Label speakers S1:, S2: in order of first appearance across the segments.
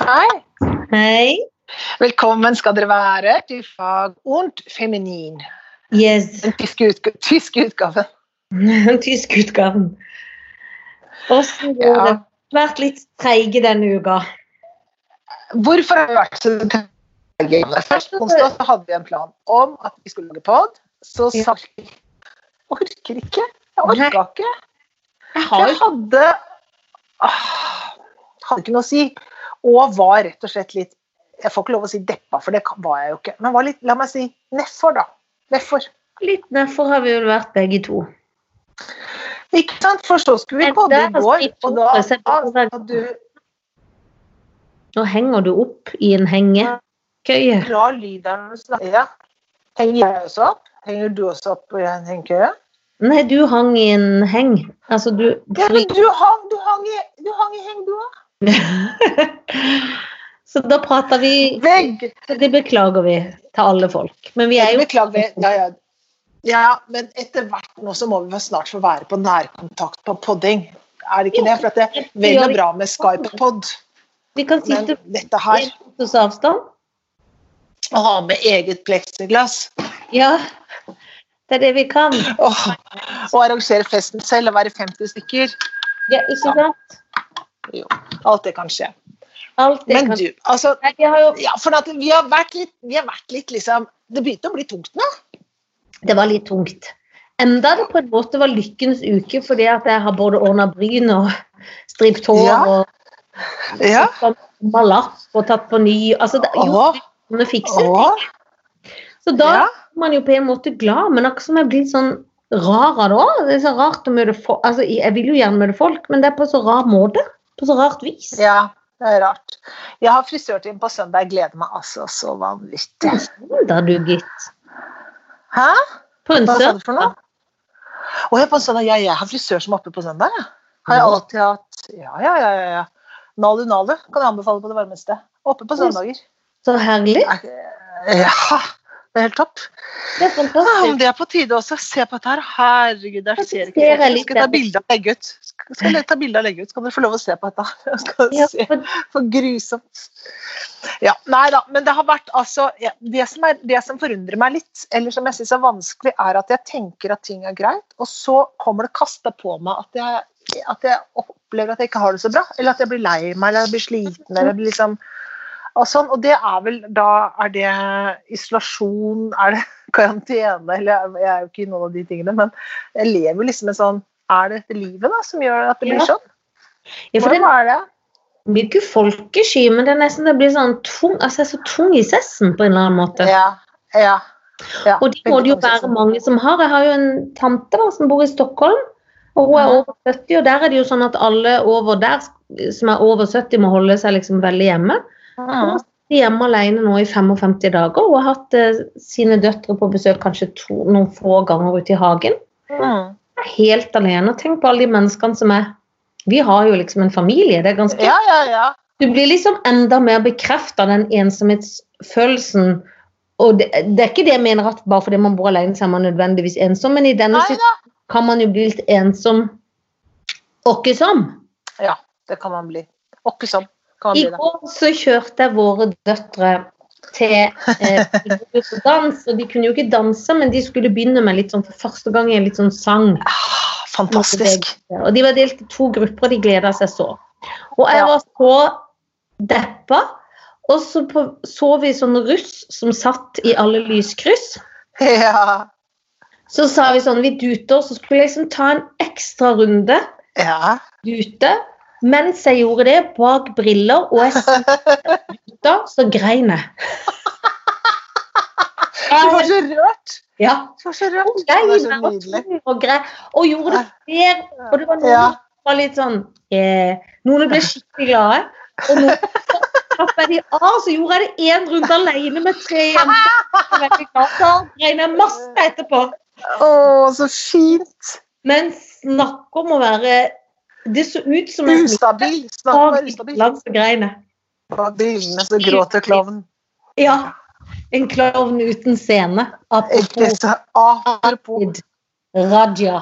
S1: Hei.
S2: Hei.
S1: Velkommen skal dere være til fag und feminin.
S2: Yes.
S1: Den tyske, utg tyske utgaven.
S2: Tysk utgaven. Åssen går det?
S1: Ja.
S2: Vært litt treige denne uka.
S1: Hvorfor har vi vært så trege? Først onsdag så hadde vi en plan om at vi skulle lage pod. Så
S2: Ja.
S1: sa vi orker ikke. Jeg orka
S2: Nei.
S1: ikke.
S2: Jeg
S1: For
S2: har
S1: Jeg hadde ah, Hadde ikke noe å si. Og var rett og slett litt Jeg får ikke lov å si deppa, for det kan- var jeg jo ikke. Men var litt, la meg si nedfor, da. Nedfor.
S2: jo litt nedfor har vi vel vært begge to.
S1: Ikke sant? For så skulle vi
S2: Men altså
S1: podde
S2: der
S1: i går,
S2: sitter
S1: og da
S2: Tore, så jeg bare
S1: avsa
S2: sånn-
S1: du
S2: Nå henger du opp i en hengekøye.
S1: bra lyd der når du snakker. Ja. Henger jeg også opp? Henger du også opp eh, i en hengekøye?
S2: Nei, du hang i en heng. Altså, du
S1: Ja, men du hang, du hang i, du hang i heng, du òg.
S2: Så da prater vi
S1: Vegg!
S2: Det beklager vi til alle folk. Men vi er jo
S1: Beklager. Ja, ja. ja, men etter hvert nå så må vi vel snart få være på nærkontakt på podding. Er det ikke det? For at det er vel og bra med Skype-pod,
S2: Vi kan
S1: men
S2: sitte
S1: dette
S2: på
S1: her
S2: en meters avstand.
S1: Å ha med eget pleksiglass
S2: Ja. Det er det vi kan.
S1: og, og arrangere festen selv og være 50 stykker,
S2: Ja, ikke sant?
S1: alt det kan skje.
S2: Alt det
S1: Men
S2: kan
S1: du, altså
S2: Nei, vi har jo...
S1: Ja, for at vi har vært litt, vi har vært litt liksom Det begynte å bli tungt nå.
S2: Det var litt tungt. Enda det på en måte var lykkens uke, fordi at jeg har både ordna bryn og stript hår
S1: Ja.
S2: og
S1: Ja.
S2: kommet lapp og tatt på ny Altså, det er jo
S1: Åh,
S2: sånne fikser.
S1: åh,
S2: Så da
S1: Ja.
S2: er man jo på en måte glad, men akkurat som jeg blir sånn rar av det òg. Det er så rart å møte folk Altså, jeg vil jo gjerne møte folk, men det er på så rar måte. På så rart vis.
S1: ja. Det er rart. Jeg har frisørtime på søndag. Jeg gleder meg altså så vanvittig.
S2: Da, du, gitt.
S1: Hæ?
S2: På en
S1: Hva sa du for noe?
S2: søndag.
S1: Å, jeg, på søndag, ja, jeg har frisør som er oppe på søndag. Ja. Har jeg
S2: Ja.
S1: alltid hatt. Ja, ja, ja. ja, ja. Nalu Nalu kan jeg anbefale på det varmeste. Oppe på søndager.
S2: Så herlig.
S1: Er- Ja, det er helt topp.
S2: Det er
S1: Ja, Om
S2: fantastisk.
S1: det er på tide også, se på dette her. Herregud, der ser jeg ikke.
S2: Ser jeg
S1: Jeg
S2: litt
S1: skal ta
S2: der.
S1: bilde og legge ut. Skal- Skal jeg ta bilde og legge ut, så kan dere få lov å se på dette. Jeg Skal
S2: Ja,
S1: se.
S2: for-
S1: For grusomt. Ja, nei da, men det har vært altså ja, det, som er, det som forundrer meg litt, eller som jeg syns er vanskelig, er at jeg tenker at ting er greit, og så kommer det kasta på meg at jeg, at jeg opplever at jeg ikke har det så bra. Eller at jeg blir lei meg, eller jeg blir sliten, eller jeg blir liksom og sånn, og det er vel da Er det isolasjon? Er det karantene? Eller jeg er jo ikke i noen av de tingene, men jeg lever jo liksom en sånn Er det dette livet da som gjør at det blir
S2: Ja,
S1: sånn?
S2: ja, for det
S1: Hvordan er det?
S2: blir ikke folkesky, men det er nesten det blir sånn tung, altså jeg er så tung i sessen på en eller annen måte.
S1: Ja, ja, ja.
S2: Og det må det jo
S1: Veldig
S2: være
S1: konsistent.
S2: mange som har. Jeg har jo en tante da, som bor i Stockholm, og hun er
S1: Ja.
S2: over 70, og der er det jo sånn at alle over der sk- som er over 70 må holde seg liksom veldig hjemme.
S1: Mhm.
S2: De er hjemme alene nå i 55 dager, og har hatt eh, sine døtre på besøk kanskje to, noen få ganger ute i hagen.
S1: Mhm.
S2: Jeg er helt alene. og Tenk på alle de menneskene som er Vi har jo liksom en familie. det er ganske...
S1: Ja, ja, ja.
S2: Du blir liksom enda mer bekrefta av den ensomhetsfølelsen. Og det, det er ikke det jeg mener at bare fordi man bor alene, så er man nødvendigvis ensom, men i denne
S1: Nei
S2: situasjonen kan man jo bli litt ensom åkkesom.
S1: Det kan man bli. Åkke sånn kan man
S2: I
S1: bli det.
S2: går så kjørte jeg våre døtre til eh, Julius og dans, og de kunne jo ikke danse, men de skulle begynne med litt sånn for første gang i en litt sånn sang.
S1: Ah, Fantastisk.
S2: Og de var delt i to grupper, og de gleda seg så. Og jeg
S1: Ja.
S2: var så deppa. Og så på, så vi sånn russ som satt i alle lyskryss.
S1: Ja.
S2: Så sa vi sånn, vi duter, så skulle jeg liksom ta en ekstra runde
S1: ja.
S2: dute. Mens jeg gjorde det, bak briller, og jeg dutta, så grein jeg.
S1: Du var så rørt.
S2: Ja.
S1: Du var så rørt. Det
S2: Jeg
S1: var så
S2: var
S1: nydelig. Ah.
S2: tung og grei, og gjorde det flere Og det var noen
S1: Ja.
S2: som var litt sånn eh, Noen ble skikkelig glade. Og noen slapp jeg de av, så gjorde jeg det én runde alene med tre jenter. Jeg var veldig glad. Da grein jeg masse etterpå.
S1: Å, så fint.
S2: Men snakk om å være Det så ut som en
S1: Ustabil. Snakk om å være ustabil.
S2: langs og grein jeg.
S1: På brillene så gråter klovnen.
S2: Ja. En klovn uten scene.
S1: Ikke
S2: Apropos
S1: så- Apropos
S2: Raja.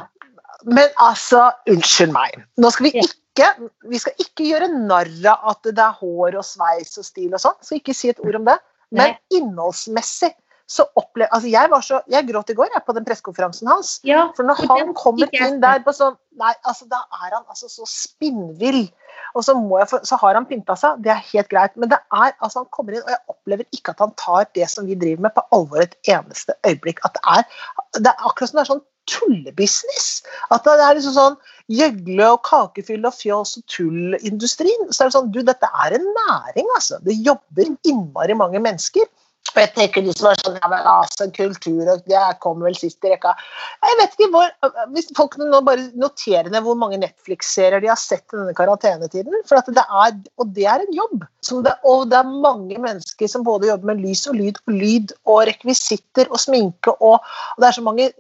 S1: Men altså, unnskyld meg. Nå skal vi
S2: Ja.
S1: ikke ikke, vi skal ikke gjøre narr av at det er hår og sveis og stil og sånn. Skal ikke si et ord om det. Men
S2: Nei.
S1: innholdsmessig så opplev... Altså, jeg, var så, jeg gråt i går jeg, på den pressekonferansen hans.
S2: Ja,
S1: For når
S2: Og
S1: han
S2: den
S1: kommer
S2: fikk jeg
S1: inn der på sånn Nei, altså da er han altså så spinnvill. Og så, må jeg få, så har han pynta seg, det er helt greit. Men det er, altså han kommer inn, og jeg opplever ikke at han tar det som vi driver med, på alvor et eneste øyeblikk. At det er, det er akkurat som det er sånn tullebusiness. At det er liksom sånn gjøgle og kakefyll og fjas og tullindustrien. Så er det sånn, du, dette er en næring, altså. Det jobber innmari mange mennesker. Og jeg tenker de som er sånn, ja, men altså, kultur og det kommer vel sist i rekka. Jeg vet ikke hvor, Hvis folk nå bare noterer ned hvor mange Netflix-serier de har sett i denne karantenetiden for at det er, Og det er en jobb. Som det, og det er mange mennesker som både jobber med lys og lyd og lyd og rekvisitter og sminke og, og Det er så mange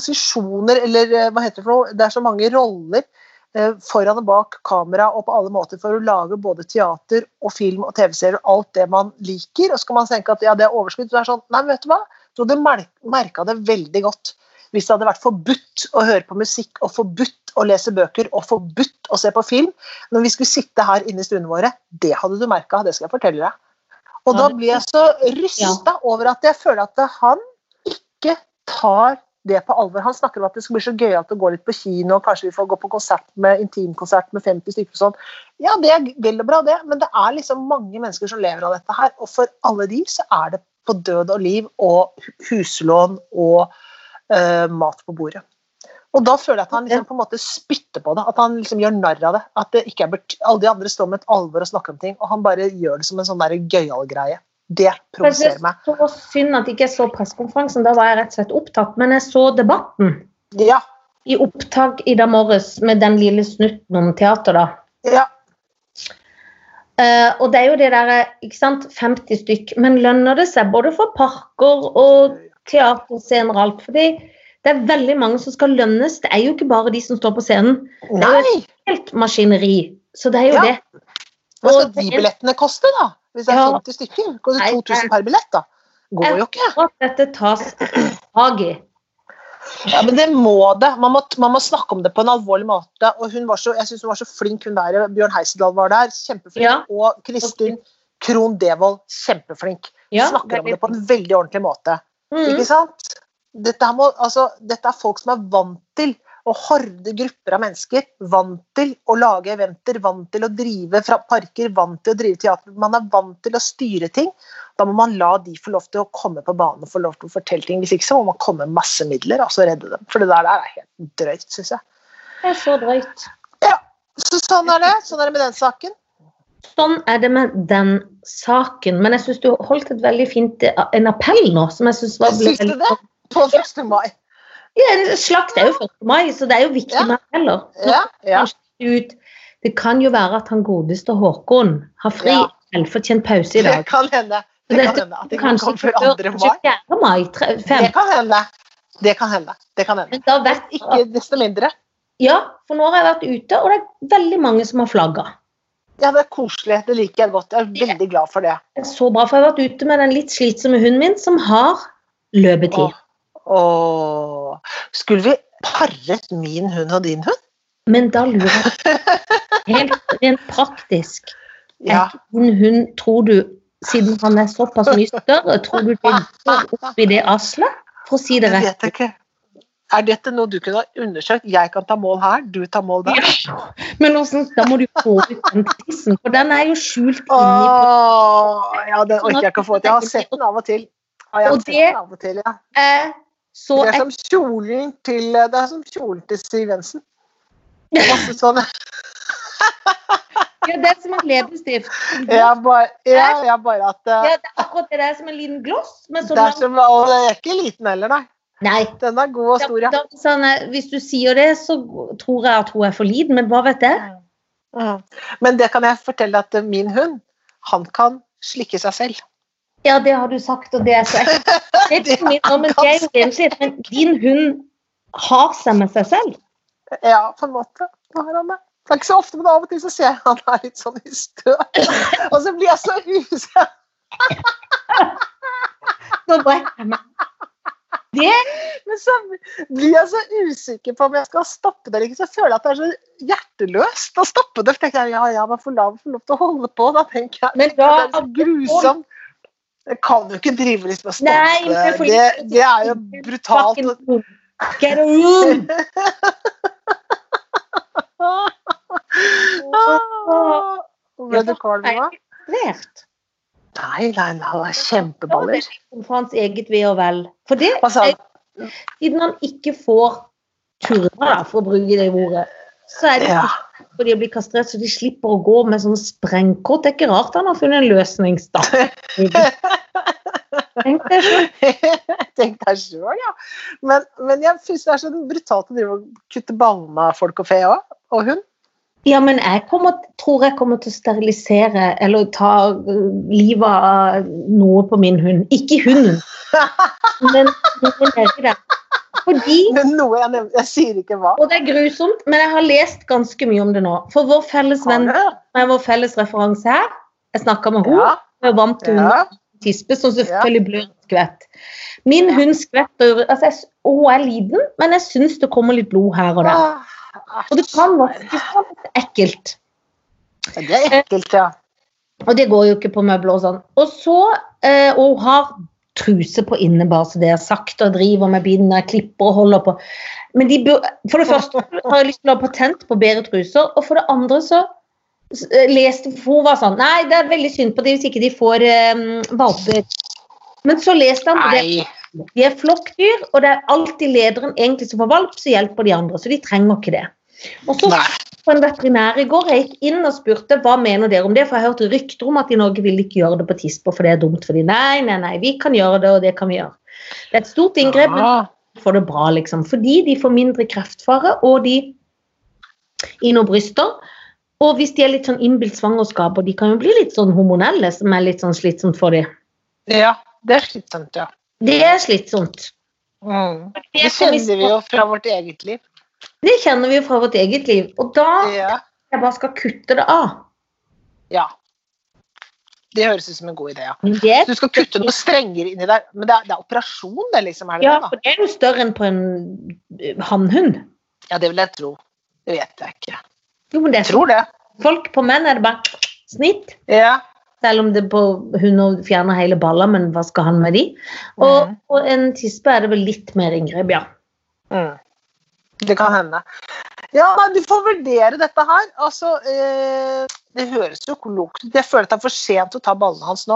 S1: posisjoner, eller eh, hva heter det for noe, det er så mange roller eh, foran og bak kamera og på alle måter for å lage både teater og film og TV-serier og alt det man liker. Og så kan man tenke at ja, det er overskudd. Så det er sånn, nei, men vet du hva? Jeg tror du merka det veldig godt hvis det hadde vært forbudt å høre på musikk og forbudt å lese bøker og forbudt å se på film. Når vi skulle sitte her inne i stuene våre, det hadde du merka, det skal jeg fortelle deg. Og
S2: Ja,
S1: da
S2: det-
S1: blir jeg så rysta over at jeg føler at han ikke tar det på alvor. Han snakker om at det skal bli så gøyalt å gå litt på kino, og kanskje vi får gå på konsert med intimkonsert med 50 stykker og sånn. Ja, det er vel og bra, det, men det er liksom mange mennesker som lever av dette her. Og for alle de så er det på død og liv og hu- huslån og eh, mat på bordet. Og da føler jeg at han liksom på en måte spytter på det, at han liksom gjør narr av det. At det ikke er bert alle de andre står med et alvor og snakker om ting, og han bare gjør det som en sånn der gøyal greie. Det
S2: jeg synes
S1: provoserer meg.
S2: så synd at jeg ikke så pressekonferansen, da var jeg rett og slett opptatt. Men jeg så debatten
S1: Ja,
S2: i opptak i dag morges med den lille snutten om teater, da.
S1: ja,
S2: Eh, og det er jo det derre, ikke sant, 50 stykk. Men lønner det seg både for parker og teaterscener og alt? Fordi det er veldig mange som skal lønnes. Det er jo ikke bare de som står på scenen.
S1: nei!
S2: Helt maskineri. Så det er jo
S1: Ja.
S2: det.
S1: Hva skal
S2: Og
S1: de
S2: det-
S1: billettene koste, da? Hvis det er
S2: Ja.
S1: 50 stykker? Koster
S2: Nei,
S1: 2000 per billett, da? Går jo ikke.
S2: Og at dette tas tak i.
S1: Ja, men det må det. Man må, man må snakke om det på en alvorlig måte. Og hun var så, jeg syns hun var så flink, hun der. Bjørn Heisedal var der. Kjempeflink.
S2: Ja.
S1: Og Kristin Krohn Devold. Kjempeflink.
S2: Ja,
S1: snakker om
S2: veldig.
S1: det på en veldig ordentlig måte.
S2: Mm.
S1: Ikke sant? Dette, her må, altså, dette er folk som er vant til å horde grupper av mennesker. Vant til å lage eventer, vant til å drive fra parker, vant til å drive teater. Man er vant til å styre ting. Da må man la de få lov til å komme på banen og få lov til å fortelle ting. Hvis ikke så må man komme med masse midler og så redde dem. For det der, der er helt drøyt, syns jeg.
S2: Det er så drøyt.
S1: Så sånn er det. Sånn er det med den saken.
S2: Sånn er det med den saken. Men jeg syns du holdt et veldig fint eh, en appell nå, som jeg syns var
S1: Syns du det? På 1. mai.
S2: Ja, slakt er jo 1. mai, så det er jo viktig
S1: Ja.
S2: med appeller. Nå
S1: Ja, ja.
S2: ut. Det kan jo være at han godeste Håkon har fri.
S1: Ja.
S2: Velfortjent pause i
S1: Det
S2: dag.
S1: kan hende. Det
S2: Dette
S1: kan hende at det kan
S2: Kanskje
S1: komme før
S2: ikke før-
S1: 2. mai.
S2: kanskje 4. mai. tre-
S1: Det
S2: fem.
S1: kan hende. Det kan hende. Det kan hende.
S2: Men da vet jeg
S1: Ikke
S2: at-
S1: desto mindre.
S2: Ja, for nå har jeg vært ute, og det er veldig mange som har flagga.
S1: Ja, det er koselig. Det liker jeg godt. Jeg er veldig glad for det.
S2: Det er Så bra, for jeg har vært ute med den litt slitsomme hunden min, som har løpetid.
S1: Åh. Åh. Skulle vi paret min hund og din hund?
S2: Men da lurer jeg Helt rent praktisk.
S1: Ja.
S2: Er ikke din hund, tror du, siden han er såpass mye større, tror du det går opp i det aslet? For å si det
S1: Jeg
S2: rett.
S1: vet ikke. Er dette noe du kunne ha undersøkt? Jeg kan ta mål her, du tar mål der.
S2: Men hvordan, da må du få ut den tissen, for den er jo skjult inni.
S1: Åh, ja, den orker jeg ikke å få ut. Jeg har sett den av og til. Ja, jeg har
S2: Og
S1: sett
S2: det-
S1: den av og til, ja.
S2: Eh, Så
S1: Det er
S2: jeg,
S1: som kjolen til, det er som kjolen til Siv Jensen. Masse sånne.
S2: ja, det er som et leppestift.
S1: Ja, bare, ja, ja, bare at eh,
S2: Ja, det er akkurat det. Det er som en liten gloss. Men så
S1: Det er,
S2: langt,
S1: som, og den er ikke liten heller, nei.
S2: nei.
S1: Den er god og stor,
S2: Da, da, sånn, eh, hvis du sier det, så tror jeg at hun er for liten, men hva vet jeg?
S1: ja. Mm. Men det kan jeg fortelle at eh, min hund, han kan slikke seg selv.
S2: Ja, det har du sagt, og det er så ekkelt. Det er ikke min, men, det er jo egentlig- men din hund har seg med seg selv.
S1: Ja, på en måte. Hva har han det? Det er ikke så ofte, men av og til så ser jeg han er litt sånn i stø. Og så blir jeg så usikker.
S2: Nå brekker jeg meg. Det
S1: Men så blir jeg så usikker på om jeg skal stoppe det eller ikke. Så jeg føler at det er så hjerteløst å stoppe det. For tenker jeg, ja, ja, men får lov, får lov til å holde på, da, tenker jeg.
S2: Men
S1: Det
S2: da
S1: er så grusomt. Jeg kan jo ikke drive litt med å
S2: Nei,
S1: stoppe
S2: men
S1: det.
S2: fordi-
S1: det. Det er jo brutalt.
S2: Fucking room. Get a room!
S1: Ah, Ble du kvalm nå?
S2: Svært.
S1: Nei, nei, nei, det er kjempeballer.
S2: For hans eget ve og vel. For det,
S1: Hva sa han?
S2: siden han ikke får turner, da, for å bruke det ordet, så er det
S1: Ja.
S2: for de å bli kastrert, så de slipper å gå med sånn sprengkort. Det er ikke rart han har funnet en løsning, stakkar. Tenk deg selv.
S1: Tenk deg sjøl, ja. Men, men jeg syns det er så brutalt å drive og kutte ballene av folk og fe òg. Og hund.
S2: Ja, men jeg kommer, tror jeg kommer til å sterilisere eller ta øh, livet av noe på min hund. Ikke hunden, men noe nedi der. Fordi
S1: Men noe jeg nevnte Jeg sier ikke hva.
S2: Og det er grusomt, men jeg har lest ganske mye om det nå. For vår felles venn, nei, vår felles referanse her Jeg snakka med henne.
S1: Ja,
S2: Hun er vant til
S1: ja.
S2: hunder og tispe, som selvfølgelig blør og skvett. Min hund skvetter altså jeg, s- og Hun er liten, men jeg syns det kommer litt blod her og der.
S1: Ah,
S2: Og det kan vaskes sånn ekkelt.
S1: Det er ekkelt, ja.
S2: Og det går jo ikke på møbler og sånn. Og så eh, Og hun har truse på inne, bare så det er sagt, og driver med binder, klipper og holder på. Men de bør, for det første har jeg lyst til å ha patent på bedre truser, og for det andre så s- eh, leste hun var sånn Nei, det er veldig synd på dem hvis ikke de får eh, valper. Men så leste han på det.
S1: Nei.
S2: De er flokkdyr, og det er alltid lederen egentlig som får valp, så hjelper de andre. Så de trenger ikke det. Og så
S1: Nei.
S2: på en veterinær i går. Jeg gikk inn og spurte hva mener dere om det, for jeg hørte rykter om at i Norge vil de ikke gjøre det på tisper, for det er dumt for de. Nei, nei, nei, vi kan gjøre det, og det kan vi gjøre. Det er et stort inngrep, men
S1: Ah,
S2: de får det bra, liksom. Fordi de får mindre kreftfare, og de i noen bryster. Og hvis de er litt sånn innbilt svangerskap, og de kan jo bli litt sånn hormonelle, som er litt sånn slitsomt for de.
S1: ja. Det er slitsomt, ja.
S2: Det er slitsomt.
S1: Mm. Det
S2: Det
S1: kjenner vi jo fra vårt eget liv.
S2: Det kjenner vi jo fra vårt eget liv. Og da
S1: Ja.
S2: jeg bare skal kutte det av.
S1: ja. Det høres ut som en god idé, ja.
S2: Men det er
S1: Du skal kutte noe strengere inni der. Men det er, det er operasjon, det, liksom? Er det
S2: Ja,
S1: det, da?
S2: for det er jo større enn på en eh, hannhund.
S1: Ja, det vil jeg tro. Det vet jeg ikke.
S2: Jo, men det
S1: Jeg
S2: er sånn.
S1: tror det.
S2: Folk på menn er det bare snitt.
S1: Ja.
S2: Selv om det på hunder fjerner hele baller, men hva skal han med de? Og
S1: Mhm.
S2: på en tispe er det vel litt mer inngrep, ja.
S1: Mm. Det kan hende. Ja, nei, du får vurdere dette her. Altså, eh, det høres jo klokt ut. Jeg føler at det er for sent å ta ballene hans nå.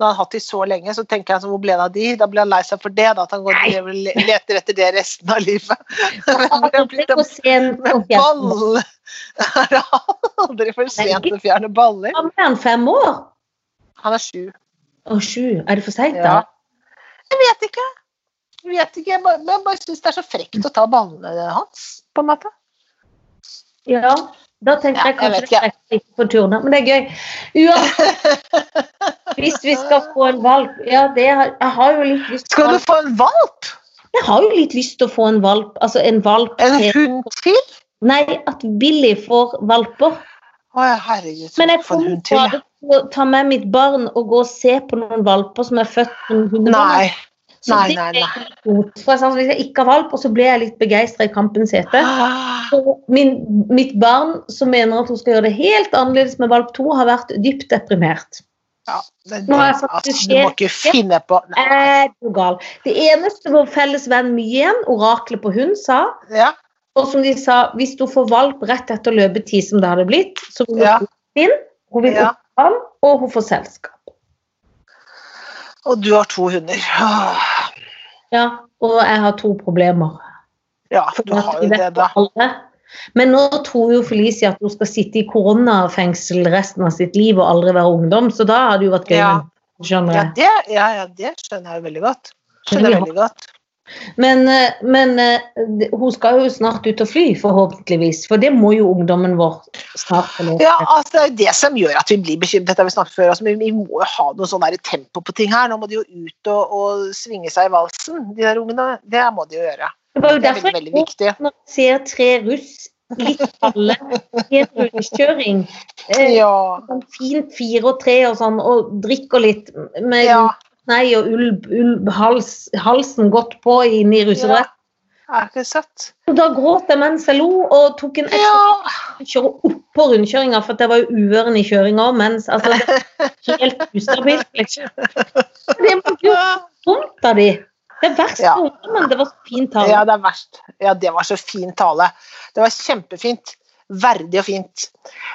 S1: Når han har hatt de så lenge, så tenker jeg så, hvor ble det av de? Da blir han lei seg for det, da, at han går og lever- leter etter det resten av livet. Men det
S2: Aldri
S1: blir da-
S2: for sent å
S1: Men
S2: fjerne
S1: ball er det aldri for sent å fjerne baller.
S2: Hva med han fem år?
S1: Han er sju.
S2: Å, sju. Er det for seint,
S1: Ja.
S2: da?
S1: Jeg vet ikke. Jeg vet ikke. Jeg bare, men jeg bare syns det er så frekt å ta ballene hans, på en måte.
S2: Ja. Da tenkte
S1: Ja, jeg
S2: jeg kanskje
S1: vet
S2: det er greit ikke for turner, men det er gøy. Uansett, hvis vi skal få en valp Ja, det har, jeg har jo litt lyst til
S1: Skal du få en valp?
S2: Jeg har jo litt lyst til å få en valp. Altså en valp
S1: En
S2: til
S1: hund til?
S2: Nei, at Billy får valper.
S1: Å herregud,
S2: Men jeg
S1: få en
S2: kommer
S1: hund
S2: til
S1: til.
S2: å
S1: ja.
S2: ta- ta med mitt barn og gå og se på noen valper som er født med
S1: Nei.
S2: hundebarn. Så
S1: nei,
S2: det
S1: nei,
S2: er litt godt. For jeg sa sånn, Hvis jeg ikke har valp, og så blir jeg litt begeistra i kampens hete
S1: Ah,
S2: Så min- Mitt barn som mener at hun skal gjøre det helt annerledes med valp 2, har vært dypt deprimert.
S1: Ja, den,
S2: Nå har jeg
S1: altså,
S2: faktisk
S1: du må ikke finne på nei.
S2: Er du gal? Eh, Det eneste vår felles venn Myen, oraklet på hund, sa
S1: Ja,
S2: Og som de sa, hvis hun får valp rett etter løpetid, som det hadde blitt, så vil hun
S1: Ja.
S2: flytte inn, hun vil
S1: ja.
S2: opp ham, og hun får selskap.
S1: Og du har to hunder. Ah,
S2: Ja, og jeg har to problemer.
S1: Ja,
S2: For
S1: du har jo
S2: vi vet
S1: det, da.
S2: alle. Men nå tror jo Felicia at hun skal sitte i koronafengsel resten av sitt liv og aldri være ungdom, så da hadde det jo vært gøy.
S1: Ja.
S2: med- Skjønner
S1: Ja,
S2: jeg.
S1: det, ja, ja, det skjønner jeg veldig godt. Skjønner jeg veldig godt.
S2: Men, eh, men eh, det- hun skal jo snart ut og fly, forhåpentligvis. For det må jo ungdommen vår snart få lov til.
S1: Ja, altså, det er jo det som gjør at vi blir bekymret. Dette har vi snakket før, altså, men Vi må jo ha noe sånn der tempo på ting her. Nå må de jo ut og, og svinge seg i valsen, de der ungene. Det må de jo gjøre.
S2: Det var jo
S1: Det er
S2: derfor
S1: veldig,
S2: jeg
S1: veldig viktig.
S2: når jeg ser tre russ, litt alle, i en rundkjøring, eh,
S1: Ja.
S2: sånn fint fire og tre og sånn, og drikker litt med
S1: ja.
S2: nei og ull, ull hals, halsen godt på inne i rusedress.
S1: Er ikke det søtt?
S2: Og Da gråt jeg mens jeg lo, og tok en ekstra
S1: Ja.
S2: kjøre opp på rundkjøringa, for det var jo uøren i kjøringa mens altså, det var Helt ustabilt, liksom. Det var jo vondt av de. Det er verst
S1: Ja.
S2: for ungdommen. Det var så fint tale.
S1: ja, det er verst. Ja, det var så fin tale. Det var kjempefint. Verdig og fint.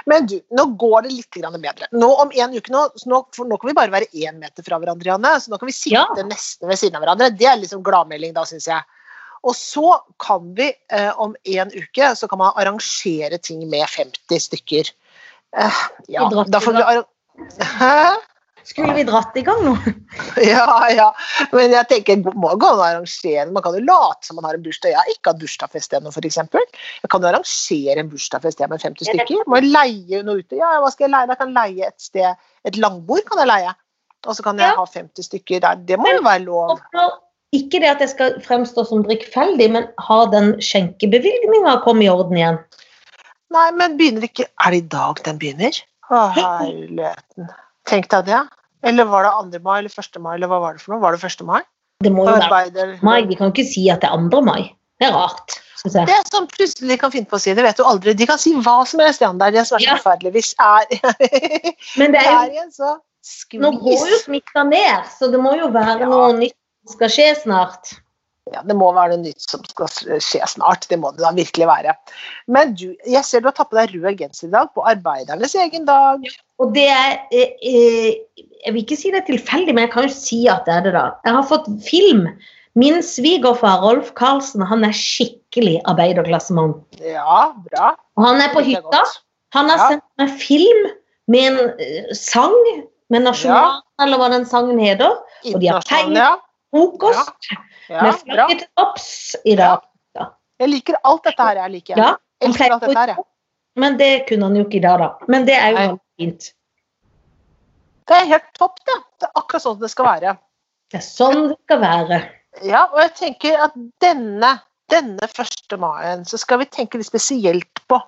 S1: Men du, nå går det litt grann bedre. Nå om en uke nå, så nå, for nå kan vi bare være én meter fra hverandre, Janne. Så nå kan vi sitte
S2: Ja.
S1: nesten ved siden av hverandre. Det er liksom gladmelding, da, syns jeg. Og så kan vi eh, om en uke så kan man arrangere ting med 50 stykker. Eh, ja,
S2: Vi drar
S1: da får vi arra- Hæ?
S2: Skulle vi dratt i gang nå?
S1: Ja, ja. Men jeg tenker, det må gå an å arrangere. Man kan jo late som man har en bursdag. Jeg har ikke hatt bursdagsfest ennå, f.eks. Jeg kan jo arrangere en bursdagsfest jeg med 50 stykker. Må jeg leie noe ute? Ja, hva skal jeg leie? Jeg kan leie et sted. Et langbord kan jeg leie. Og så kan jeg
S2: Ja.
S1: ha 50 stykker der. Det må jo være
S2: Og
S1: lov.
S2: for- Ikke det at jeg skal fremstå som drikkfeldig, men har den skjenkebevilgninga kommet i orden igjen?
S1: Nei, men begynner ikke Er det i dag den begynner? Å, herligheten. Tenk deg det. Eller var det 2. mai eller 1. mai, eller hva var det for noe? Var det 1. mai?
S2: Det må jo være
S1: Arbeider...
S2: mai. Vi kan ikke si at det er 2. mai. Det er rart, synes jeg.
S1: Det er sånn plutselig de kan finne på å si. Det vet du aldri. De kan si hva som helst, Jan. Det er det som er så
S2: Ja.
S1: forferdelig. Vi er,
S2: Men
S1: vi
S2: det er jo
S1: er i en så skvis.
S2: Nå går jo smitta ned, så det må jo være
S1: Ja.
S2: noe nytt som skal skje snart.
S1: Ja, det må være noe nytt som skal skje snart. Det må det da virkelig være. Men du, jeg ser du har tatt på deg rød genser i dag, på arbeidernes egen dag.
S2: Og det er eh, eh, Jeg vil ikke si det er tilfeldig, men jeg kan jo si at det er det, da. Jeg har fått film. Min svigerfar Rolf Karlsen han er skikkelig arbeiderklassemann.
S1: Ja, bra.
S2: Og han er på
S1: Liker jeg
S2: hytta.
S1: godt.
S2: Han har
S1: Ja.
S2: sendt meg film med en eh, sang, med nasjonal, eller hva den sangen heter. Og de har
S1: Internasjonal,
S2: Frokost
S1: Ja,
S2: med
S1: ja, bra.
S2: flagget til topps i dag.
S1: Jeg liker alt dette her, jeg liker.
S2: Ja,
S1: Jeg
S2: han
S1: elsker
S2: pleier
S1: alt dette her, jeg.
S2: Men det kunne han jo ikke i dag, da. Men det er jo
S1: Nei.
S2: veldig fint.
S1: Det er helt topp, det. Det er akkurat sånn det skal være.
S2: Det er sånn det skal være.
S1: Ja, og jeg tenker at denne, denne 1. maien så skal vi tenke litt spesielt på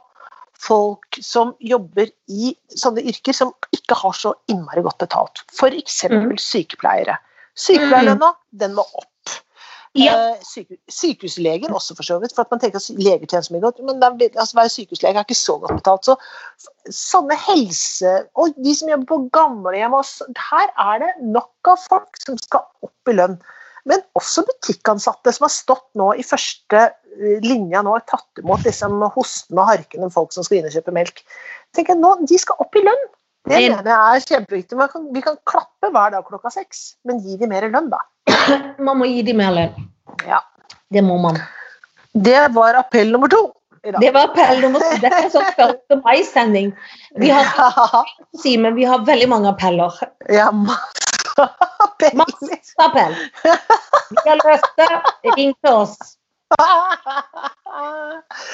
S1: folk som jobber i sånne yrker som ikke har så innmari godt betalt. F.eks.
S2: Mm.
S1: sykepleiere. Sykepleierlønna, den må opp.
S2: Ja.
S1: Eh, syke, sykehusleger også, for så vidt. For at man tenker at leger tjener så mye godt, men det er, litt- altså, å være sykehuslege er ikke så godt betalt. Så f- sånne helse Og de som jobber på gamlehjem og så- Her er det nok av folk som skal opp i lønn. Men også butikkansatte som har stått nå i første eh, linja nå og tatt imot liksom, hosten og harken om folk som skal inn og kjøpe melk. Tenker jeg nå, De skal opp i lønn! Det
S2: Men-
S1: mener jeg er kjempeviktig. Man kan, vi kan klappe hver dag klokka seks, men gi de mer lønn, da.
S2: Man må gi dem mer lønn.
S1: Ja.
S2: Det må man.
S1: Det var appell nummer to. i dag.
S2: Det var appell nummer to. Dette er sånn 1. mai-sending. Vi har
S1: Ja,
S2: ikke å si, men vi har veldig mange appeller.
S1: ja, masse appeller.
S2: Masse appell. Vi har løst det. Ring til oss.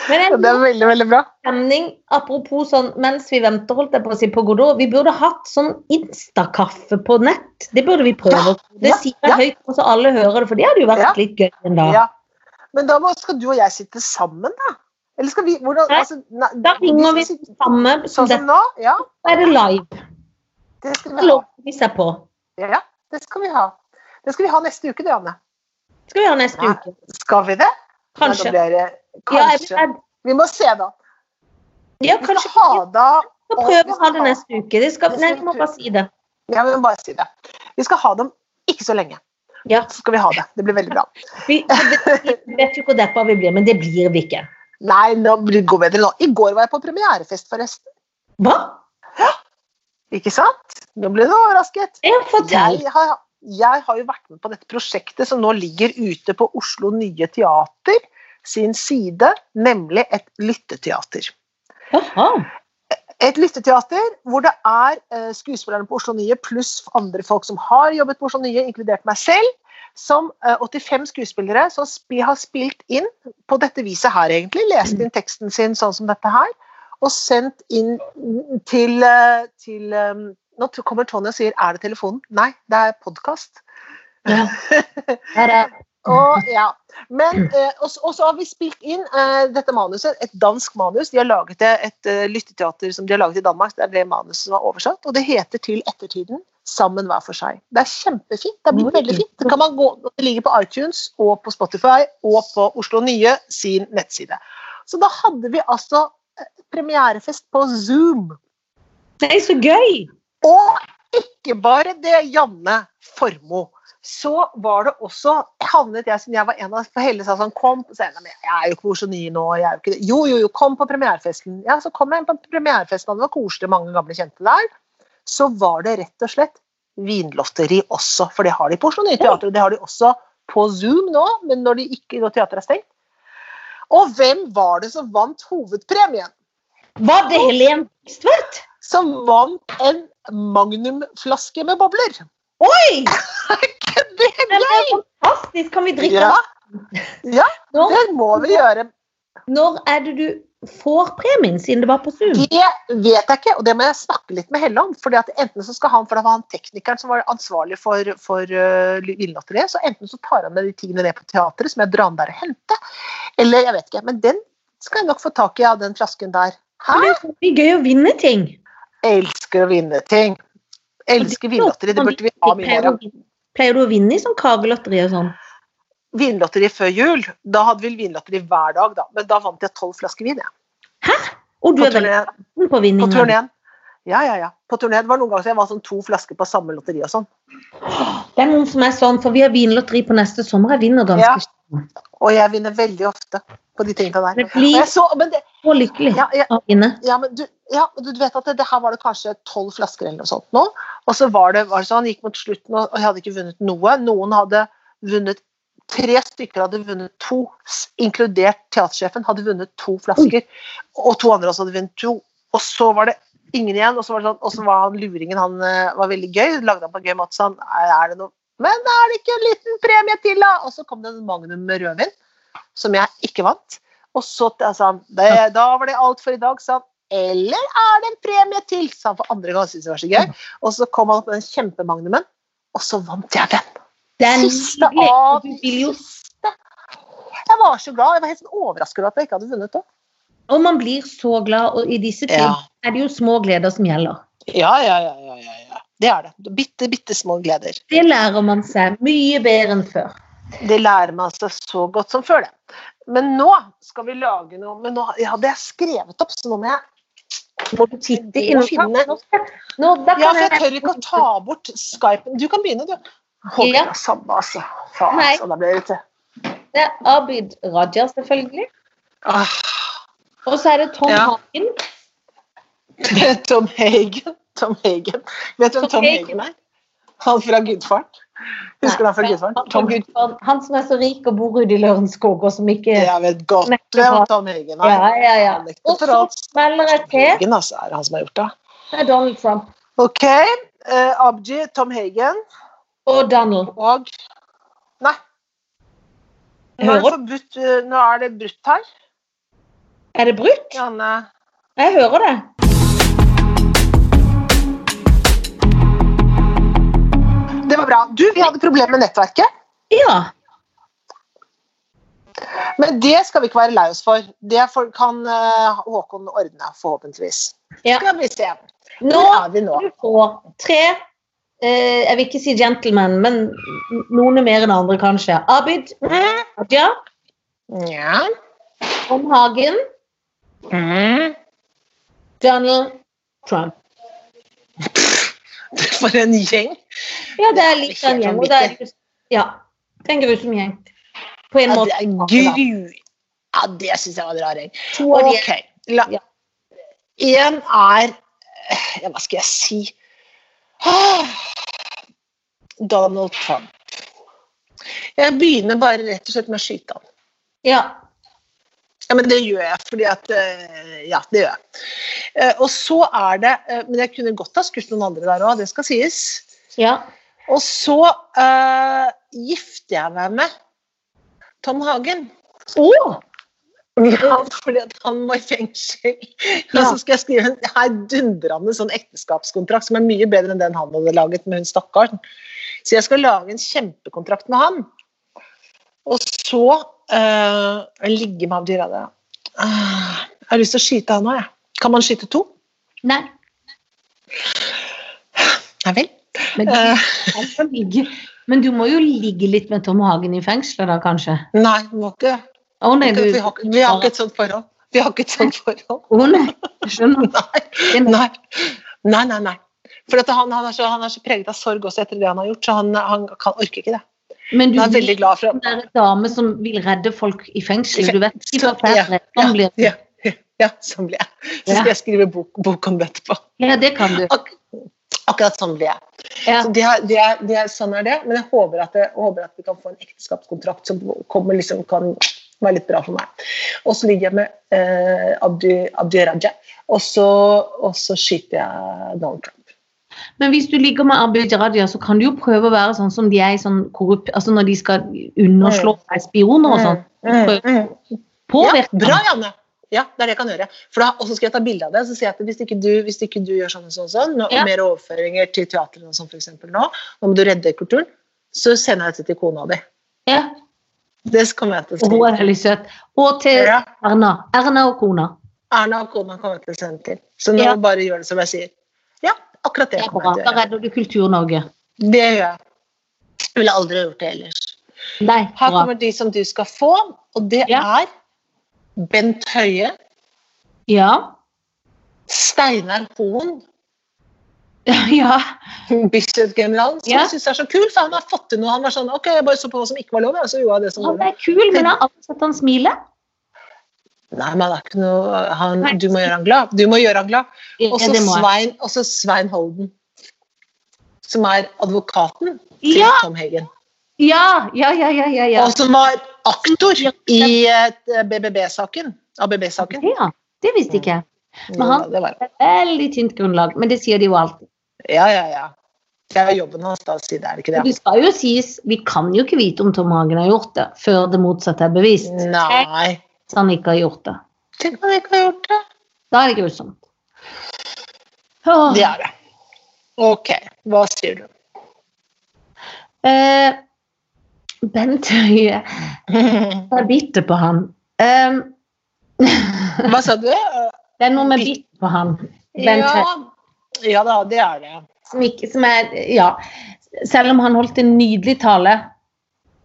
S2: Men en
S1: Det er veldig, veldig bra.
S2: stemning, apropos sånn mens vi venter, holdt jeg på å si, på Godot, vi burde hatt sånn Insta-kaffe på nett. Det burde vi prøve. Det
S1: ja,
S2: sier jeg høyt, så alle hører det, for det hadde jo
S1: Ja.
S2: vært litt gøy en dag.
S1: Ja. Men da må, skal du og jeg sitte sammen, da? Eller skal vi hvordan,
S2: Nei,
S1: altså, nei,
S2: Da ringer
S1: skal
S2: vi
S1: sitte
S2: samme som
S1: Sånn som
S2: dette.
S1: nå? Ja,
S2: Da er det live.
S1: det skal
S2: Det
S1: vi ha.
S2: låter vi seg på.
S1: Ja, det skal vi ha. Det skal vi ha neste uke, det, Anne.
S2: Skal vi ha neste
S1: Nei.
S2: uke?
S1: Skal vi det? Nei,
S2: Kanskje.
S1: da blir det-
S2: Ja, jeg blir
S1: kanskje.
S2: redd.
S1: Vi må se, da.
S2: Ja,
S1: Vi
S2: kanskje.
S1: skal ha det av
S2: Vi skal prøve å ha det neste uke. Det skal,
S1: Det
S2: nei,
S1: skal
S2: vi må bare si det.
S1: Ja, vi må bare si det. Vi skal ha det om ikke så lenge.
S2: Ja.
S1: Så skal vi ha det. Det blir veldig bra.
S2: Vi vi vet jo hvor deppa vi blir, men det blir vi ikke.
S1: Nei, nå blir det går bedre nå. I går var jeg på premierefest, forresten.
S2: Hva?
S1: Ikke sant? Nå ble du overrasket.
S2: Ja, fortell.
S1: Jeg har, jeg har jo vært med på dette prosjektet som nå ligger ute på Oslo Nye Teater sin side, nemlig et lytteteater.
S2: Jaha.
S1: Et lytteteater hvor det er eh, skuespillerne på Oslo Nye pluss andre folk som har jobbet på Oslo Nye, inkludert meg selv, som eh, 85 skuespillere som spi, har spilt inn på dette viset her, egentlig. Lest inn teksten sin sånn som dette her, og sendt inn mm, til, eh, til eh, Nå t- kommer Tonje og sier 'er det telefonen?' Nei, det er podkast.
S2: Ja. Ja, det-
S1: Og, ja. Men, eh, og, så- og så har vi spilt inn eh, dette manuset, et dansk manus. De har laget det, et eh, lytteteater som de har laget i Danmark. Det er det manuset som er oversatt. Og det heter til ettertiden sammen hver for seg. Det er kjempefint. Det er blitt
S2: Oi.
S1: veldig fint. Det, kan man gå, det ligger på iTunes og på Spotify og på Oslo Nye sin nettside. Så da hadde vi altså eh, premierefest på Zoom.
S2: Nei, så gøy!
S1: Og ikke bare det, Janne Formoe. Så var det også havnet jeg som jeg var en av for Helle sa sånn kom på scenen. Men jeg er jo ikke på Oslo Nye nå. Jeg er jo, ikke det. jo, jo, jo, kom på premierefesten. Ja, så kom jeg inn på premierefesten, og det var koselig, mange gamle kjente der. Så var det rett og slett vinlotteri også, for det har de på Oslo Nye Teater. Og det har de også på Zoom nå, men når, de ikke, når teateret er stengt. Og hvem var det som vant hovedpremien?
S2: Var det Helen Tvedt?
S1: Som vant en magnumflaske med bobler.
S2: Oi!
S1: Det
S2: Den er fantastisk! Kan vi drikke
S1: Ja.
S2: den?
S1: Ja,
S2: Når,
S1: det må vi gjøre.
S2: Mm. når er det du får premien, siden det var på Zoom?
S1: Det vet jeg ikke, og det må jeg snakke litt med Helle om. fordi at enten så skal han, for det var han teknikeren som var ansvarlig for, for øh, Vinlotteriet, så enten så tar han med de tingene ned på teatret som jeg drar med der og henter, eller jeg vet ikke. Men den skal jeg nok få tak i av den flasken der. Hæ?
S2: Men Det er jo veldig gøy å vinne ting.
S1: Jeg elsker å vinne ting. Jeg elsker vinlotteri. Det burde vi ha mye mer
S2: pleier,
S1: av.
S2: du, pleier du å vinne i sånn kakelotteri og sånn?
S1: Vinlotteri før jul, da hadde vi vinlotteri hver dag, da. Men da vant jeg tolv flasker vin, jeg.
S2: Og du
S1: På
S2: er veldig
S1: turné-
S2: god på
S1: På
S2: vinning. Anne.
S1: turneen. Ja, ja, ja. På turneen var det noen ganger så jeg var sånn to flasker på samme lotteri og sånn.
S2: Det er noen som er sånn, for vi har vinlotteri på neste sommer. Jeg vinner ganske
S1: Ja.
S2: ja.
S1: Og jeg vinner veldig ofte på de tingene der.
S2: Jeg
S1: Og
S2: blir
S1: jeg så, men det,
S2: så lykkelig
S1: ja, ja,
S2: av å vinne.
S1: ja, men du, ja, men du vet at det, det her var det kanskje tolv flasker eller noe sånt nå. Og så var det, var det sånn, gikk mot slutten, og og jeg hadde ikke vunnet noe. Noen hadde vunnet Tre stykker hadde vunnet to, s- inkludert teatersjefen, hadde vunnet to flasker. Og to andre også hadde vunnet to. Og så var det ingen igjen, og så var, det sånn, og så var han luringen han eh, var veldig gøy. Lagde han på en gøy måte sånn er er det noe, Men er det ikke en liten premie til, da? Og så kom det en Magnum med rødvin, som jeg ikke vant. Og så sa han det, Da var det alt for i dag, sa han. Eller er det en premie til? sa han for andre gang. Synes det var så gøy. Og så kom han opp med den kjempemagnumen, og så vant jeg den.
S2: Det er
S1: Siste
S2: nydelig.
S1: av-
S2: Du vil jo
S1: Siste. Jeg var så glad. Jeg var helt sånn overrasket over at jeg ikke hadde vunnet òg.
S2: Og man blir så glad, og i disse ting
S1: Ja.
S2: er det jo små gleder som gjelder.
S1: Ja, ja, ja, ja, ja, ja. Det er det. Bitte, bitte små gleder.
S2: Det lærer man seg mye bedre enn før.
S1: Det lærer man seg så godt som før, det. Men nå skal vi lage noe Men nå ja, det hadde jeg skrevet opp, så nå må jeg
S2: Må du titte
S1: Jeg må finne-
S2: Nå, da
S1: Ja,
S2: kan
S1: for jeg tør ikke å ta bort Skypen. Du kan begynne, du. Hold
S2: Ja.
S1: deg samme, altså. Faen,
S2: Nei.
S1: altså. Da ble jeg ute.
S2: Det er Abid Raja, selvfølgelig.
S1: Ah,
S2: Og så er det Tom
S1: Ja.
S2: Hagen.
S1: Tom Hagen. Tom Hagen. Vet du hvem Tom
S2: Tom Hagen.
S1: Hagen er? Han fra Gudfaren. Husker du han fra
S2: Nei,
S1: Gudfaren? Tom Gud...
S2: Han som er så rik og bor ute i Lørenskog, og som ikke
S1: Jeg
S2: Ja,
S1: vet godt hvem Tom Hagen er.
S2: ja, ja.
S1: Han er ikke
S2: Og så
S1: forholds-
S2: melder jeg til.
S1: Hagen, altså, er han som har gjort det.
S2: Det er Donald Trump
S1: OK. eh, Abji, Tom Hagen
S2: og Donald.
S1: og Nei. Nå er det,
S2: Hører
S1: forbudt, eh, nå er det brutt her.
S2: Er det brutt?
S1: Janne.
S2: Jeg hører det.
S1: Det var bra. Du, vi hadde problemer med nettverket.
S2: Ja.
S1: Men det skal vi ikke være lei oss for. Det får- kan eh, Håkon ordne, forhåpentligvis.
S2: Ja.
S1: Skal vi se.
S2: Nå
S1: Hvor er vi nå?
S2: du får tre eh, Jeg vil ikke si gentlemen, men noen er mer enn andre, kanskje. Abid Raja,
S1: Ja.
S2: Tom Hagen, Mm. Donald Trump.
S1: For en gjeng.
S2: Ja, det er litt av en gjeng. Og det er, grus- ja, det er en grusom gjeng. På en
S1: Ja, det
S2: måte.
S1: er gru... Ja, det syns jeg var en rar gjeng.
S2: To av de er-
S1: Ok. La...
S2: Ja.
S1: En er eh, ja, Hva skal jeg si? Ah, Donald Trump. Jeg begynner bare rett og slett med å skyte han.
S2: Ja.
S1: Ja, men det gjør jeg, fordi at eh, Ja, det gjør jeg. Eh, Og så er det eh, Men jeg kunne godt ha skutt noen andre der òg, det skal sies.
S2: ja.
S1: Og så eh, gifter jeg meg med Tom Hagen.
S2: Å!
S1: Ja, fordi at han må i fengsel. Og så skal jeg skrive en heidundrende sånn ekteskapskontrakt som er mye bedre enn den han hadde laget med hun stakkaren. Så jeg skal lage en kjempekontrakt med han. Og så uh, ligge med Abdi Raja. Ah, jeg har lyst til å skyte han òg, jeg. Kan man skyte to?
S2: Nei.
S1: Nei vel.
S2: Men,
S1: Eh.
S2: du må ligge- men du må jo ligge litt med Tom Hagen i fengselet da, kanskje?
S1: Nei, vi må ikke.
S2: Å nei, du
S1: Vi har, ikke- vi har ikke et sånt forhold. Vi har ikke et sånt forhold.
S2: Å nei, jeg skjønner. Det er-
S1: Nei, nei, nei. nei. For at han, han, er så, han er så preget av sorg også etter det han har gjort, så han, han kan, orker ikke det.
S2: Men du
S1: Han er
S2: blir
S1: veldig glad for
S2: en sånn der dame som vil redde folk i fengselet. Du vet ikke hva
S1: Ja,
S2: fælt redd man Sånn blir.
S1: Ja, ja, sånn blir jeg. Så skal jeg skrive bok, bok om det etterpå.
S2: Ja, det kan du.
S1: Ak akkurat sånn blir jeg.
S2: Ja.
S1: Så det er, det er, det er, sånn er det. Men jeg håper at, jeg, håper at vi kan få en ekteskapskontrakt som kommer, liksom, kan være litt bra for meg. Og så ligger jeg med eh, Abdi, Abdi Raja, og så, og så skyter jeg Donald Trump.
S2: Men hvis du ligger med Abid Raja, så kan du jo prøve å være sånn som de er i sånn korrupt... Altså når de skal underslå seg spioner og sånn.
S1: Mm, mm, mm. Ja,
S2: Påvirke
S1: bra,
S2: ham.
S1: Janne! Ja, det er det jeg kan gjøre. For da, og så skal jeg ta bilde av det. Så sier jeg at hvis ikke du, hvis ikke du gjør sånn og sånn, og sånn nå-
S2: Ja.
S1: mer overføringer til teatret og sånn for eksempel nå, nå må du redde kulturen, så sender jeg dette til kona di.
S2: Ja,
S1: Det kommer jeg til å
S2: og hun
S1: skrive.
S2: er veldig søt. Og til
S1: Ja.
S2: Erna. Erna og kona.
S1: Erna og kona kommer jeg til å sende til. Så nå
S2: Ja.
S1: bare gjør det som jeg sier. Ja, akkurat
S2: Det
S1: det
S2: er bra.
S1: kommer jeg til
S2: Da
S1: å gjøre.
S2: redder du Kultur-Norge.
S1: Det gjør jeg. Jeg ville aldri gjort det ellers.
S2: Nei,
S1: Her
S2: bra.
S1: kommer de som du skal få, og det
S2: Ja.
S1: er Bent Høie,
S2: Ja.
S1: Steinar Hoen,
S2: Ja.
S1: Bislett-generalen, som
S2: Ja.
S1: jeg syns er så kul, for han har fått til noe. Han var sånn OK, jeg bare så på hva som ikke var lov, jeg, og så gjorde jeg det som var
S2: Han
S1: lov.
S2: er kul, men jeg har aldri sett han smile.
S1: Nei, men det er ikke noe han,
S2: Nei.
S1: Du må gjøre han glad. Du må gjøre han glad.
S2: Ja,
S1: Og så
S2: det må jeg.
S1: Svein, og så Svein Holden, som er advokaten til
S2: Ja,
S1: Tom Hagen.
S2: ja, ja, ja, ja, ja, ja.
S1: Og som var aktor i eh, BBB-saken. ABB-saken.
S2: ja. Det visste ikke jeg.
S1: Jo,
S2: han-
S1: det var-
S2: Det er Veldig tynt grunnlag, men det sier de jo alltid.
S1: Ja, ja, ja. Det er jobben hans, da, å si det, er det ikke
S2: Og
S1: det?
S2: det skal jo sies, vi kan jo ikke vite om Tom Hagen har gjort det før det motsatte er bevist.
S1: Nei.
S2: Hvis han ikke har gjort det.
S1: Tenk om han ikke har gjort det.
S2: Da er det grusomt. Åh.
S1: Det er det. Ok, hva sier du?
S2: Eh, Bent Høie, jeg er bitter på han. Eh,
S1: Hva sa du?
S2: det er noe med bitter på han. Bent
S1: ja.
S2: Høie.
S1: ja da, det er det.
S2: Som ikke, som er, ja. Selv om han holdt en nydelig tale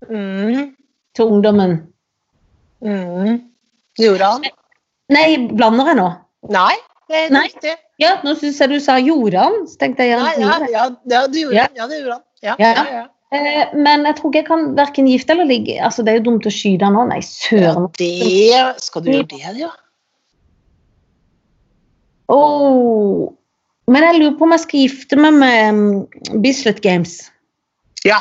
S1: Mm.
S2: til ungdommen.
S1: Mm. Gjorde han?
S2: Nei, blander jeg nå?
S1: Nei, det er
S2: Nei.
S1: riktig.
S2: Ja, nå syns jeg du sa gjorde han. Så tenkte jeg
S1: Nei,
S2: gjerne
S1: ja,
S2: gjorde.
S1: ja, ja, det gjorde
S2: Ja.
S1: han. Ja, det gjorde han. Ja,
S2: Ja.
S1: ja, ja.
S2: Eh, Men jeg tror ikke jeg kan verken gifte eller ligge. Altså, det er jo dumt å skyte han nå. Nei, søren.
S1: Det Skal du gjøre det, ja?
S2: Åh. Men jeg lurer på om jeg skal gifte meg med mm, Bislett Games.
S1: Ja.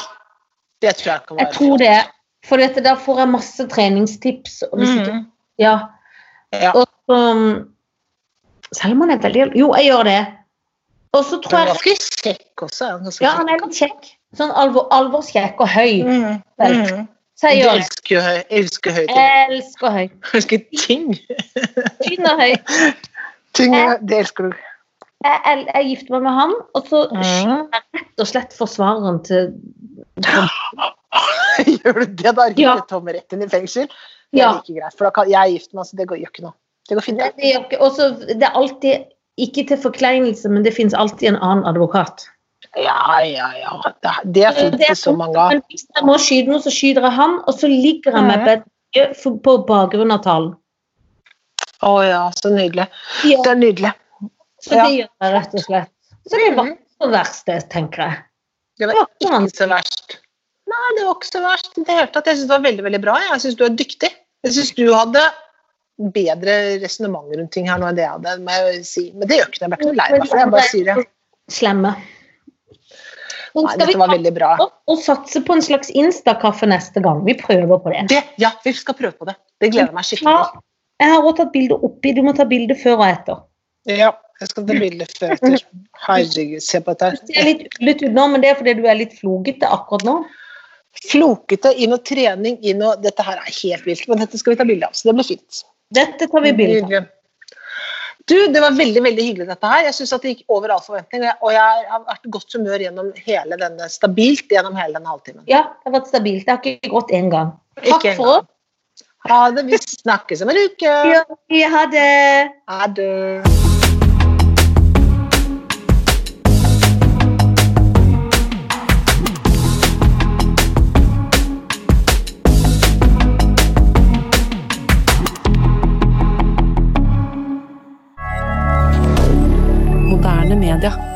S1: Det tror jeg kan være
S2: Jeg tror det. For dette, da får jeg masse treningstips. Og hvis ikke,
S1: Mm.
S2: ja.
S1: Ja.
S2: Og så mm, Selv om han er veldig Jo, jeg gjør det. Og så tror
S1: Han er
S2: jeg
S1: ganske kjekk også. er Han ganske
S2: Ja, han er litt kjekk. Sånn alvor, alvorskjekk og høy.
S1: Mm.
S2: Vel.
S1: Mm.
S2: Så jeg
S1: Du
S2: gjør Eh. det.
S1: elsker jo høy. Jeg elsker høy ting.
S2: Jeg elsker høy.
S1: Jeg elsker ting.
S2: Tynn og høy.
S1: ting
S2: Eh.
S1: det elsker du.
S2: Jeg, jeg, jeg gifter meg med han, og så
S1: Mm.
S2: rett og slett forsvareren til Tom.
S1: Gjør du det, da ryker
S2: Ja.
S1: Tom rett inn i fengsel. Det
S2: Ja,
S1: er like greit, for da kan jeg er gift med han, så det går gjør ikke noe. Det går fint.
S2: det
S1: det.
S2: er jo ikke- og så det er alltid Ikke til forkleinelse, men det finnes alltid en annen advokat.
S1: Ja, ja, ja. Det er- Det er fint
S2: Det er
S1: for så
S2: fint,
S1: mange. av.
S2: Men hvis jeg må skyte noe, så skyter jeg han, og så ligger jeg med
S1: Mhm.
S2: Bent for- på bakgrunn av talen.
S1: Å ja, så nydelig.
S2: Ja,
S1: Det er nydelig.
S2: så det gjør jeg rett og slett. Så det var
S1: Mhm.
S2: ikke så verst, det, tenker jeg.
S1: Det
S2: Det
S1: var
S2: var ikke så
S1: ikke så verst. Nei, det var ikke så verst. i Det hele tatt. Jeg syns det var veldig veldig bra. Jeg syns du er dyktig. Jeg syns du hadde bedre resonnement rundt ting her nå enn det jeg hadde. Må jeg si. Men det gjør ikke noe. Jeg ble ikke noe lei meg for det. Jeg bare sier det.
S2: slemme. Men
S1: Nei,
S2: skal vi
S1: dette var
S2: ta
S1: veldig bra.
S2: opp og satse på en slags Insta-kaffe neste gang? Vi prøver på det.
S1: Det, ja, vi skal prøve på det. Det gleder jeg meg skikkelig
S2: Ja,
S1: til.
S2: jeg har også tatt bilde oppi. Du må ta bilde før og etter.
S1: Ja, jeg skal ta bilde før og etter. Herregud, se på
S2: Du
S1: dette.
S2: ser
S1: her.
S2: litt ulet ut nå, men det er fordi du er litt flogete akkurat nå.
S1: Flokete, inn og trening, inn og Dette her er helt vilt, men dette skal vi ta bilde av, så det blir fint.
S2: Dette tar vi bilde av.
S1: Nydelig. Du, Det var veldig veldig hyggelig, dette her. Jeg synes at Det gikk over all forventning. og jeg- Og jeg har vært i godt humør gjennom hele denne, stabilt gjennom hele denne halvtimen.
S2: Ja, det har vært stabilt. Det har ikke gått én gang. Takk
S1: Ikke
S2: for
S1: engang. Ha det. Vi snakkes om en uke.
S2: oss. Ja, ha det.
S1: Ha det.
S3: moderne media.